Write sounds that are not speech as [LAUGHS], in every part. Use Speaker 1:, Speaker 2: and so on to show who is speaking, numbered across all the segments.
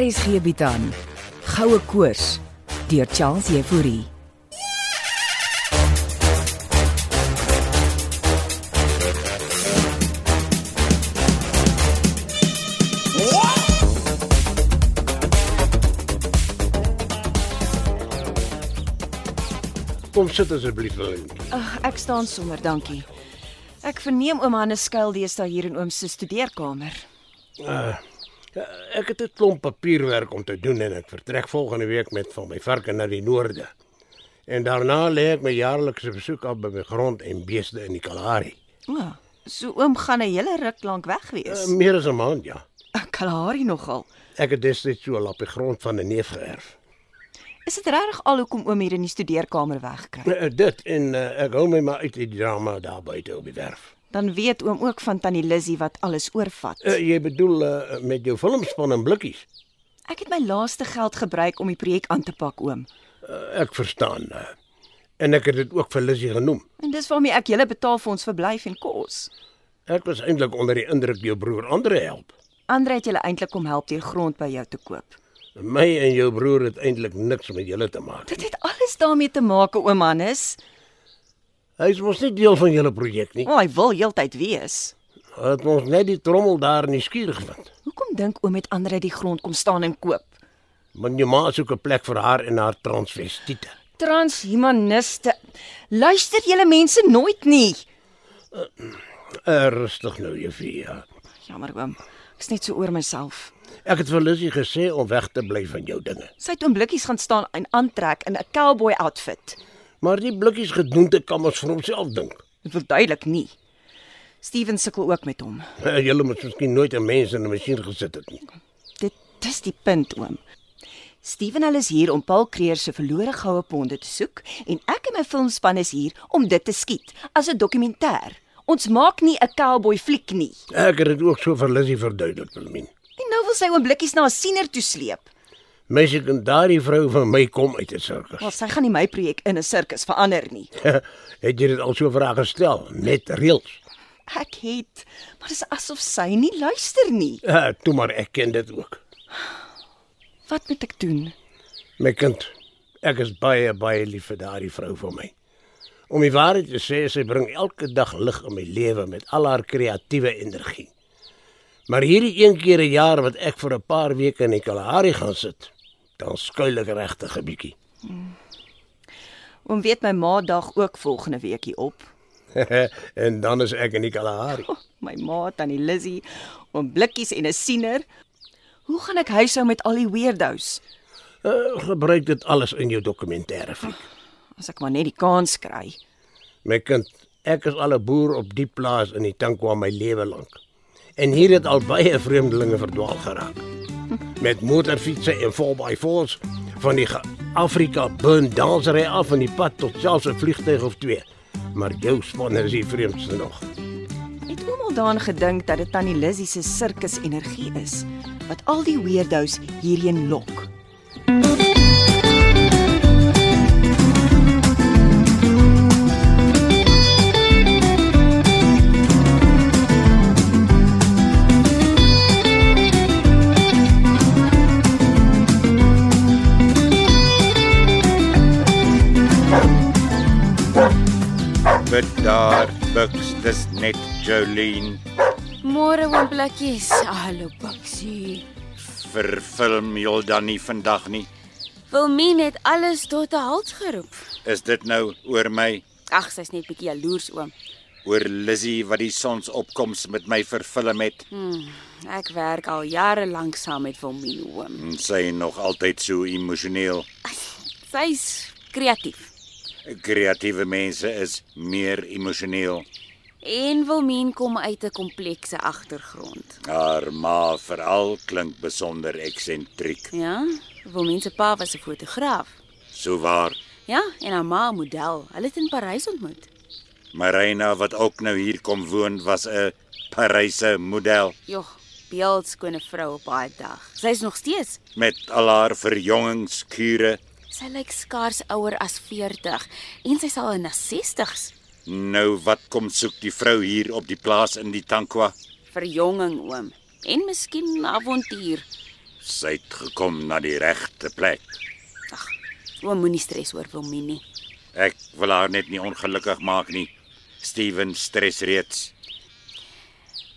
Speaker 1: RSG bied aan Goue Koors deur Charles Euphorie.
Speaker 2: Kom sit asseblief, Willempie.
Speaker 3: Ag, ek staan sommer, dankie. Ek verneem oom Hannes skuil deesdae hier in oom se studeerkamer.
Speaker 2: Eh, Ek het 'n klomp papierwerk om te doen en ek vertrek volgende week met van my varke na die noorde. En daarna lê ek my jaarlikse besoek af by my grond en beeste in die Kalahari.
Speaker 3: O, oh, so oom gaan 'n hele ruk lank weg
Speaker 2: Uh,
Speaker 3: wees.
Speaker 2: meer as 'n maand, ja.
Speaker 3: Um, Kalahari nogal.
Speaker 2: Ek het destyds so 'n lappie grond van 'n neef geërf.
Speaker 3: Is dit regtig al hoekom oom hier in die studeerkamer wegkry?
Speaker 2: Uh, dit en uh, ek hou my maar uit die drama daar buite op die werf.
Speaker 3: Dan weet oom ook van tannie Lizzy wat alles oorvat.
Speaker 2: Uh, jy bedoel uh, met jou filmspan en blikkies.
Speaker 3: Ek het my laaste geld gebruik om die projek aan te pak, oom.
Speaker 2: Uh, ek verstaan. Uh, en ek het dit ook vir Lizzie genoem.
Speaker 3: En dis waarmee ek julle betaal vir ons verblyf en kos.
Speaker 2: Ek was eintlik onder die indruk jou broer Andre help.
Speaker 3: Andre het julle eintlik kom help deur grond by jou te koop.
Speaker 2: My en jou broer het eintlik niks met julle te maak.
Speaker 3: Dit het alles daarmee te maak, oom Hannes.
Speaker 2: Hy is mos nie deel van julle projek nie.
Speaker 3: O, oh, hy wil heeltyd wees.
Speaker 2: Hulle het ons net die trommel daar in die skuur gevind.
Speaker 3: Hoekom dink oom met ander uit die grond kom staan en koop?
Speaker 2: Want jou ma soek 'n plek vir haar en haar transvestiete.
Speaker 3: Transhumaniste. Luister julle mense nooit nie.
Speaker 2: Uh, rustig nou, juffie. ja.
Speaker 3: Jammer oom. Ek's net so oor myself.
Speaker 2: Ek het vir Lissy gesê om weg te bly van jou dinge.
Speaker 3: Sy het oom blikkies gaan staan en aantrek in 'n cowboy outfit.
Speaker 2: Maar die blikkies gedoente kan ons vir homself dink.
Speaker 3: Dit wil duidelik nie. Steven sukkel ook met hom.
Speaker 2: Uh, julle moet miskien nooit 'n mens in 'n masjien gesit het nie.
Speaker 3: Dit dis die punt oom. Steven hulle is hier om Paul Kreer se verlore goue ponde te soek en ek en my filmspan is hier om dit te skiet as 'n dokumentêr. Ons maak nie 'n cowboy fliek nie.
Speaker 2: Ek het dit ook so vir Lissy verduidelik, Wilmien.
Speaker 3: En nou wil sy oom blikkies na 'n siener toe sleep.
Speaker 2: Meisie kan daardie vrou van my kom uit 'n sirkus. [LAUGHS]
Speaker 3: Wel, sy gaan nie my projek in 'n sirkus verander nie.
Speaker 2: het jy dit al so vrae gestel met reels?
Speaker 3: Ek het, maar dit is asof sy nie luister nie.
Speaker 2: Uh, toe maar ek ken dit ook.
Speaker 3: Wat moet ek doen?
Speaker 2: My kind, ek is baie baie lief vir daardie vrou van my. Om die waarheid te sê, sy bring elke dag lig in my lewe met al haar kreatiewe energie. Maar hierdie een keer 'n jaar wat ek vir 'n paar weke in die Kalahari gaan sit, dan skuil ek regtig 'n bietjie. [LAUGHS]
Speaker 3: Oom weet my ma dag ook volgende week hier op.
Speaker 2: en dan is ek in die Kalahari.
Speaker 3: Oh, my ma, tannie Lizzy, oom Blikkies en 'n siener. Hoe gaan ek huishou met al die weirdos
Speaker 2: Uh, gebruik dit alles in jou dokumentêre fliek.
Speaker 3: as ek maar net die kans kry?
Speaker 2: My kind, ek is al 'n boer op die plaas in die Tankwa my lewe lank. En hier het al baie vreemdelinge verdwaal geraak. Met motorfietsse en 4x4s van die ge- Afrika burn dansery af van die pad tot selfs 'n vliegtyg of twee. Maar jou span is die vreemdste nog.
Speaker 3: Het oom al daaraan gedink dat dit tannie Lizzy se sirkus energie is wat al die weirdos hierheen lok?
Speaker 4: Bid daar, Bux, dis net Jolene
Speaker 5: Môre oom Blikkies. Hallo Baksie.
Speaker 4: vir film heel dan nie vandag nie.
Speaker 5: Wilmien het alles tot 'n halt geroep.
Speaker 4: Is dit nou oor my,
Speaker 5: Ag, sy's net bietjie jaloers oom.
Speaker 4: oor Lizzy wat die sonsopkoms met my verfilm het?
Speaker 5: Ek werk al jare lank saam met Wilmien oom.
Speaker 4: En sy nog altyd so emosioneel.
Speaker 5: Sy's kreatief.
Speaker 4: Kreatiewe mense is meer emosioneel.
Speaker 5: En Wilmien kom uit 'n komplekse agtergrond.
Speaker 4: Haar ma veral klink besonder eksentriek.
Speaker 5: Ja, Wilmien se pa was 'n fotograaf.
Speaker 4: Sou waar.
Speaker 5: Ja, en haar ma 'n model. Hulle het in Parys ontmoet.
Speaker 4: Marina wat ook nou hier kom woon was 'n Paryse model
Speaker 5: Jog, beeldskone vrou op haar dag. Sy's nog steeds.
Speaker 4: met al haar verjongingskuure
Speaker 5: Sy lyk skaars ouer as 40 en sy sal in haar 60's.
Speaker 4: Nou wat kom soek die vrou hier op die plaas in die Tankwa?
Speaker 5: verjonging oom en miskien avontuur.
Speaker 4: Sy het gekom na die regte plek.
Speaker 5: Ag, oom moenie stres oor Wilmien nie.
Speaker 4: Ek wil haar net nie ongelukkig maak nie. Steven stres reeds.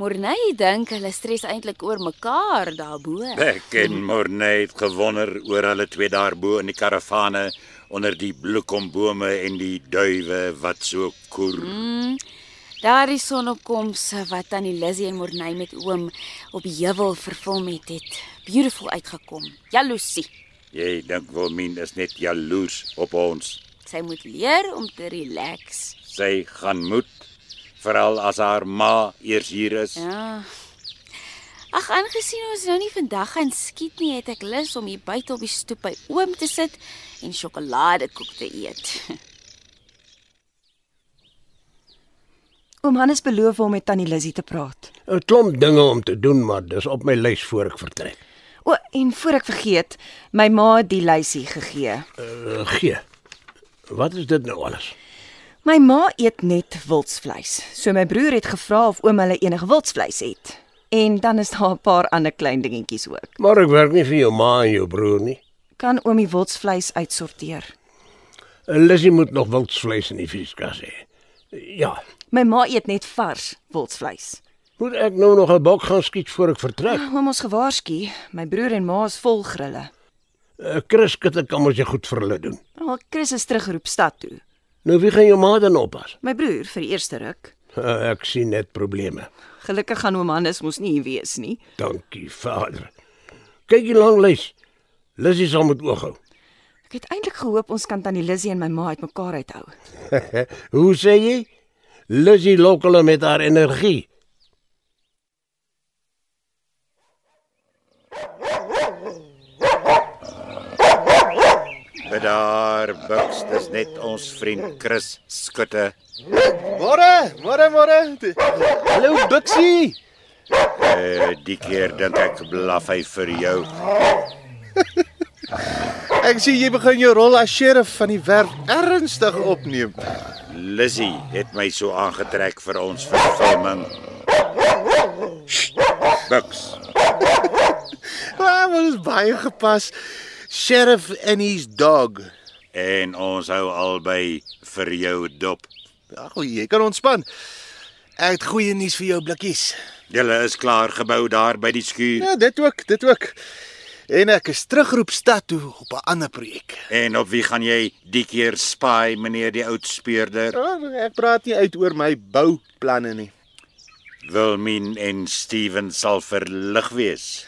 Speaker 5: Morney dink hulle stres eintlik oor mekaar daarbo.
Speaker 4: Ek en Morney het gewonder oor hulle twee daarbo in die karavane onder die bloekombome en die duwe wat so koer.
Speaker 5: Daardie sonopkoms wat tannie Lizzie en Morney met oom op die heuwel vervul met het. Beautiful uitgekom. Jaloesie.
Speaker 4: Jy dink Wilmien is net jaloers op ons.
Speaker 5: Sy moet leer om te relax.
Speaker 4: Sy gaan moet veral as haar ma eers hier is.
Speaker 5: Ja. Ag, aangesien ons nou nie vandag gaan skiet nie, het ek lus om hier buite op die stoep by oom te sit en sjokoladekoek te eet. [LAUGHS]
Speaker 3: Oom Hannes beloof om met tannie Lizzie te praat.
Speaker 2: 'n Klomp dinge om te doen, maar dis op my lys voor ek vertrek.
Speaker 3: O, en voor ek vergeet, my ma het die lysie gegee.
Speaker 2: Uh, gee. Wat is dit nou alles?
Speaker 3: My ma eet net wildsvleis. So my broer het gevra of oom hulle enige wildsvleis het. En dan is daar 'n paar ander klein dingetjies ook.
Speaker 2: Maar ek werk nie vir jou ma en jou broer nie.
Speaker 3: Kan oom die wildsvleis uitsorteer?
Speaker 2: Lissy moet nog wildsvleis in die vrieskas hê. Ja,
Speaker 3: My ma eet net vars wildsvleis.
Speaker 2: moet ek nou nog 'n bok gaan skiet voor ek vertrek?
Speaker 3: Oom ons gewaarsku, my broer en ma is vol grille.
Speaker 2: Uh, Chris, dit kan mos jy goed vir hulle doen.
Speaker 3: Al Nou, Chris is teruggeroep stad toe.
Speaker 2: Nou wie gaan jou ma dan oppas?
Speaker 3: My broer vir die eerste ruk.
Speaker 2: Uh, ek sien net probleme.
Speaker 3: Gelukkig gaan oom Hannes mos nie hier wees nie.
Speaker 2: Dankie, Vader. Kyk hier lank lys. Lissy sal moet oog hou.
Speaker 3: Ek het eintlik gehoop ons kan tannie Lizzie en my ma uitmekaar uithou.
Speaker 2: Hoe sê jy? Lissy lok hulle met haar energie.
Speaker 4: Bedaar Bucks, dis net ons vriend Chris skutte.
Speaker 6: Môre, môre, môre. Die- Hallo Bixie.
Speaker 4: Uh, die keer dink ek blaf hy vir jou.
Speaker 6: Ek sien jy begin jou rol as sheriff van die werf ernstig opneem. Ah,
Speaker 4: Lizzy het my so aangetrek vir ons verfilming. Bucks,
Speaker 6: Ja, maar dit is baie gepas. Sheriff and his dog.
Speaker 4: en ons hou albei vir jou dop.
Speaker 6: Ag, o, jy kan ontspan. Ek het goeie nuus vir jou blikkies.
Speaker 4: Julle is klaar gebou daar by die skuur
Speaker 6: Ja, dit ook, dit ook. En ek is terugroep stad toe op 'n ander projek.
Speaker 4: en op wie gaan jy die keer spy, meneer die oud speurder?
Speaker 6: Ja, Ek praat nie uit oor my bouplanne nie.
Speaker 4: Wilmien en Steven sal verlig wees.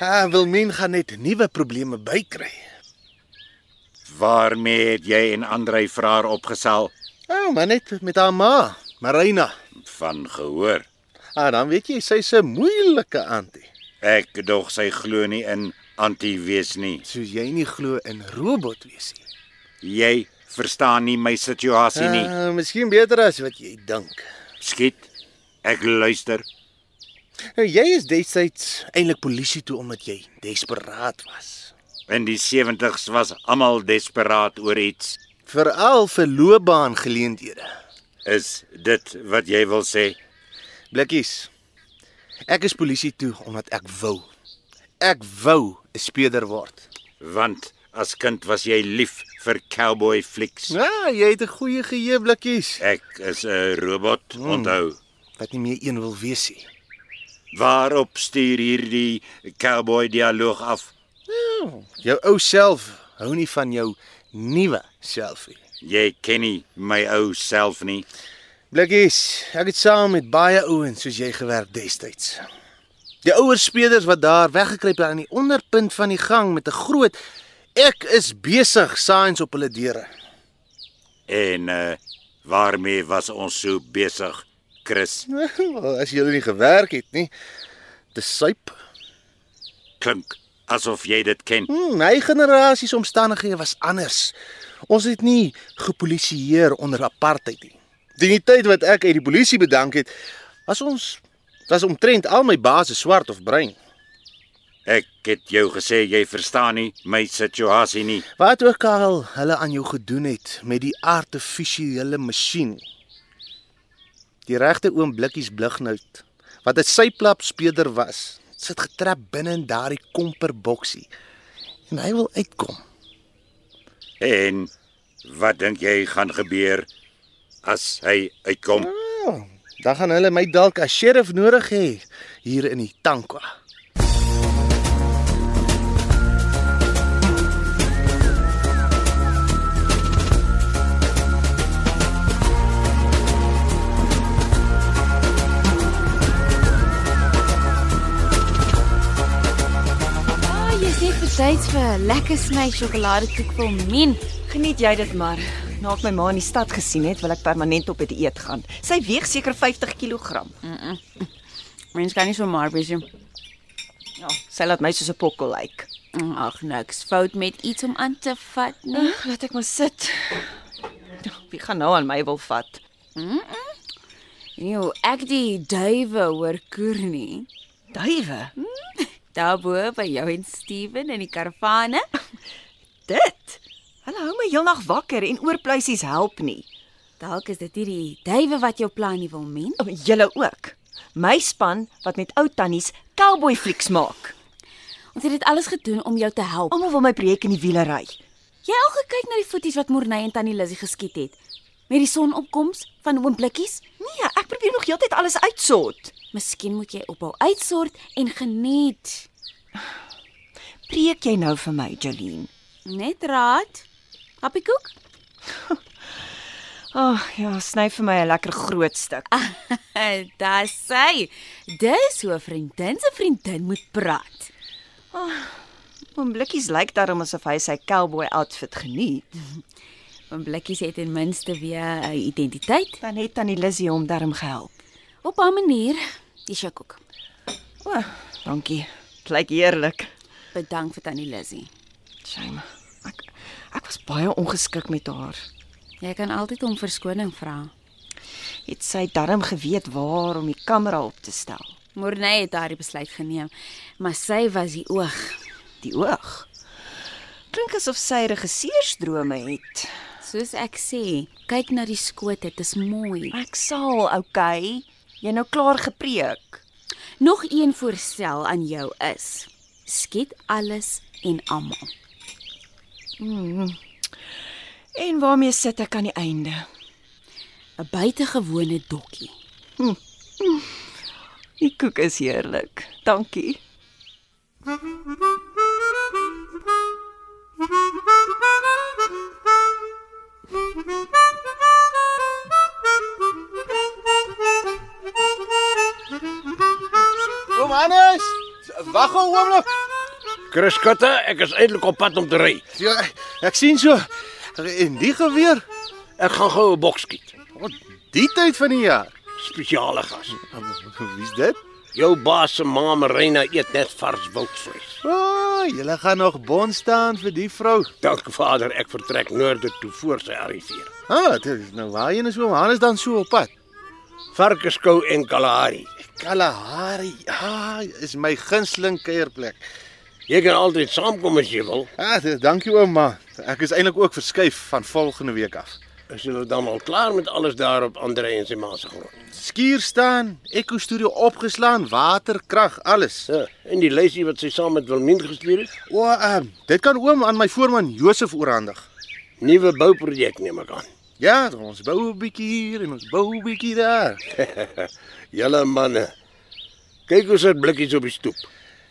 Speaker 6: Ha, Wilmien gaan net nuwe probleme bykry.
Speaker 4: Waarmee het jy en Andrei vir haar opgesel
Speaker 6: Ja, maar net met haar ma, Marina.
Speaker 4: van gehoor?
Speaker 6: Ah, dan weet jy, sy's 'n moeilike antie.
Speaker 4: Ek dog sy glo nie in anti wees nie.
Speaker 6: Soos jy nie glo in robot wees nie.
Speaker 4: Jy verstaan nie my situasie nie.
Speaker 6: Ah, miskien beter as wat jy dink.
Speaker 4: Skiet. Ek luister.
Speaker 6: Nou jy is destyds eintlik polisie toe omdat jy desperaat was.
Speaker 4: In die 70's was almal desperaat oor iets.
Speaker 6: Veral vir loopbaangeleenthede.
Speaker 4: Is dit wat jy wil sê?
Speaker 6: Blikkies. Ek is polisie toe omdat ek wou. Ek wou 'n speeder word.
Speaker 4: Want as kind was jy lief vir cowboy flieks.
Speaker 6: Ja, jy het 'n goeie geheue, Blikkies,
Speaker 4: Ek is 'n robot, onthou.
Speaker 6: wat nie meer een wil wees nie.
Speaker 4: Waarop stuur hierdie cowboy dialoog af?
Speaker 6: Jou ou self hou nie van jou nuwe self nie.
Speaker 4: Jy ken nie my ou self nie.
Speaker 6: Blikkies, ek het saam met baie ouens soos jy gewerk destyds. Die ouer spelers wat daar weggekruip het aan die onderpunt van die gang met 'n groot ek is besig signs op hulle deure. [LAUGHS]
Speaker 4: En uh waarmee was ons so besig, Chris?
Speaker 6: Wel, As jy hulle nie gewerk het nie, te suip.
Speaker 4: Klink asof jy dit ken.
Speaker 6: Hm, my generasie se omstandighede was anders. Ons het nie gepolisieer onder apartheid nie. Teen die tyd wat ek uit die polisie bedank het, was ons was omtrent al my baase swart of bruin.
Speaker 4: Ek het jou gesê jy verstaan nie my situasie nie.
Speaker 6: Wat ook al hulle aan jou gedoen het met die artifisiële masjien. Die regte oom blikkies blignout wat 'n syplap speder was, sit getrap binne in daardie komperboksie en hy wil uitkom.
Speaker 4: En wat dink jy gaan gebeur as hy uitkom?
Speaker 6: Dan gaan hulle my dalk as sheriff nodig hê hier in die Tankwa.
Speaker 5: Ah, jy's net betyds vir 'n lekker sny sjokoladekoek vir hom. Men,
Speaker 3: Geniet jy dit maar. Na ek my ma in die stad gesien het, wil ek permanent op 'n dieet gaan. Sy weeg seker 50 kg.
Speaker 5: mens kan nie so maar wees nie.
Speaker 3: Ja, sy laat my soos 'n pokkel lyk. Like.
Speaker 5: Mm, Ag, niks fout met iets om aan te vat nie.
Speaker 3: Ag, laat ek maar sit. Wie gaan nou aan my wil vat?
Speaker 5: Jo, ek die duwe hoor koer nie.
Speaker 3: Duwe.
Speaker 5: Daarbo by jou en Steven in die karavane.
Speaker 3: Dit. Hulle hou my heelnag wakker en oorpleisies help nie.
Speaker 5: Dalk is dit hierdie duwe wat jou plan nie wil men.
Speaker 3: O, Julle ook. My span wat met ou tannies cowboy flieks maak.
Speaker 5: Ons het dit alles gedoen om jou te help.
Speaker 3: Almal wil my projek in die wiele ry.
Speaker 5: Jy al gekyk na die footies wat Morney en Tannie Lizzie geskiet het met die sonopkoms van oom Blikkies?
Speaker 3: Nee, ek probeer nog heeltyd alles uitsort.
Speaker 5: Miskien moet jy ophou uitsort en geniet.
Speaker 3: Preek jy nou vir my, Jolene?
Speaker 5: Net raad. Happy koek?
Speaker 3: Ag, oh, ja, sny vir my 'n lekker groot stuk.
Speaker 5: Daar sê, dis hoe 'n vriendin se vriendin moet praat.
Speaker 3: Oom Blikkies lyk daarom asof hy sy cowboy outfit geniet.
Speaker 5: Oom Blikkies het ten minste weer 'n identiteit
Speaker 3: Dan het tannie Lizzie hom daarom gehelp.
Speaker 5: op haar manier. Dis jou koek.
Speaker 3: O, dankie. Dit lyk heerlik.
Speaker 5: Bedank vir tannie Lizzie.
Speaker 3: Shame. Ek ek was baie ongeskik met haar.
Speaker 5: Jy kan altyd om verskoning vra.
Speaker 3: Het sy darm geweet waar om die kamera op te stel?
Speaker 5: Morney het daardie besluit geneem, maar sy was die oog.
Speaker 3: Die oog. Klink asof sy regisseursdrome het.
Speaker 5: Soos ek sê, kyk na die skote, dit is mooi.
Speaker 3: Ek sal, okay. Jy nou klaar gepreek.
Speaker 5: Nog een voorstel aan jou is: skiet alles en almal.
Speaker 3: En waarmee sit ek aan die einde?
Speaker 5: 'n Buitengewone dokkie.
Speaker 3: Die koek is heerlik. Dankie.
Speaker 6: Kom Hannes, wag 'n oomblik.
Speaker 2: Chris Kutte, ek is eintlik op pad om te ry.
Speaker 6: Ja, ek sien so en die geweer
Speaker 2: Ek gaan gou 'n boks skiet.
Speaker 6: op die tyd van die jaar.
Speaker 2: Spesiale gas.
Speaker 6: Wie's dit?
Speaker 2: Jou baas se ma Marina eet net vars wildvleis.
Speaker 6: O, oh, julle gaan nog bon staan vir die vrou.
Speaker 2: Dankie Vader, ek vertrek noorde toe voor sy arriveer.
Speaker 6: Ah, dit is nou waarheen is oom Hannes dan so op pad?
Speaker 2: Varkeskou en Kalahari.
Speaker 6: Kalahari. Ah, is my gunsteling kuierplek.
Speaker 2: Jy kan altyd saamkom as jy wil.
Speaker 6: Ah, d- dankie ouma. Ek is eintlik ook verskuif van volgende week af.
Speaker 2: Is julle dan al klaar met alles daarop Andre en sy ma se grond?
Speaker 6: Skuur staan, Echo Studio opgeslaan, waterkrag, alles.
Speaker 2: Ja, en die lysie wat sy saam met Wilmien gestuur het?
Speaker 6: O, uh, dit kan oom aan my voorman Josef oorhandig.
Speaker 2: Nuwe bouprojek neem ek aan. [LAUGHS]
Speaker 6: Ja, ons bou 'n bietjie hier en ons bou 'n bietjie daar.
Speaker 2: Julle manne. Kyk hoe sit blikkies op die stoep.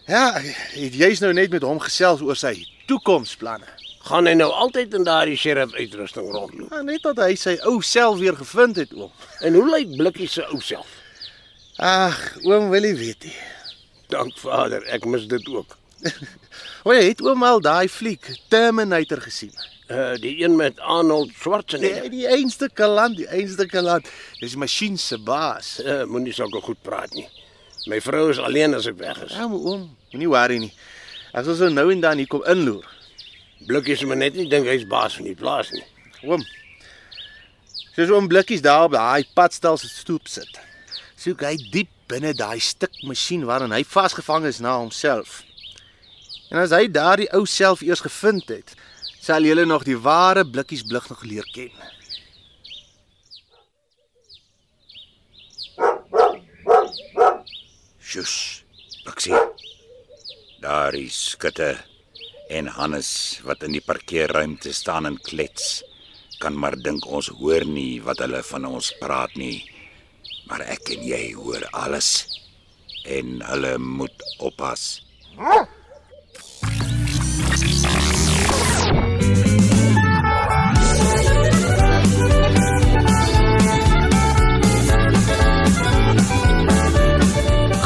Speaker 6: Ja, het jy's nou net met hom gesels oor sy toekomsplanne.
Speaker 2: Gaan hy nou altyd in daardie sheriff uitrusting rondloop?
Speaker 6: Ja, net dat hy sy ou self weer gevind het, oom.
Speaker 2: En hoe lyk blikkies se ou self?
Speaker 6: Ag, oom wil nie weet nie.
Speaker 2: Dank Vader, ek mis dit ook.
Speaker 6: O, jy het oom al daai fliek Terminator gesien?
Speaker 2: Uh die een met Arnold
Speaker 6: Nee,
Speaker 2: Schwarzenegger.
Speaker 6: die einste kaland, die einste kaland. Dis die masjien se baas.
Speaker 2: Uh, Moenie sulke goed praat nie. My vrou is alleen as ek weg is.
Speaker 6: Ja, my oom, moenie worry nie. As ons nou en dan hier kom inloer.
Speaker 2: Blikkies moet net nie dink hy's baas van die plaas nie.
Speaker 6: Oom. Soos oom blikkies daar op daai padstal se stoep sit. Soek hy diep binne daai stuk masjien waarin hy vasgevang is na homself. En as hy daardie ou self eers gevind het, sal jy nog die ware blikkies blik nog leer ken.
Speaker 4: Sjoes. Ek sien. Daardie skutte en Hannes wat in die parkeerruimte staan en klets. Kan maar dink ons hoor nie wat hulle van ons praat nie. Maar ek en jy hoor alles en hulle moet oppas.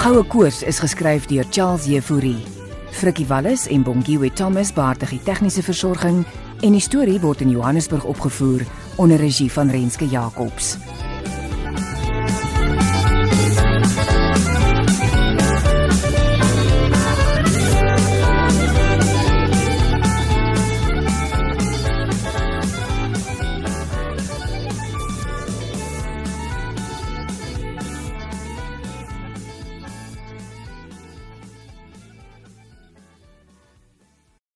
Speaker 3: Goue Koors is geskryf deur Charles Jefouri. Frikkie Wallis en Bongiwe Thomas baartig die tegniese versorging en die storie word in Johannesburg opgevoer onder regie van Renske Jacobs.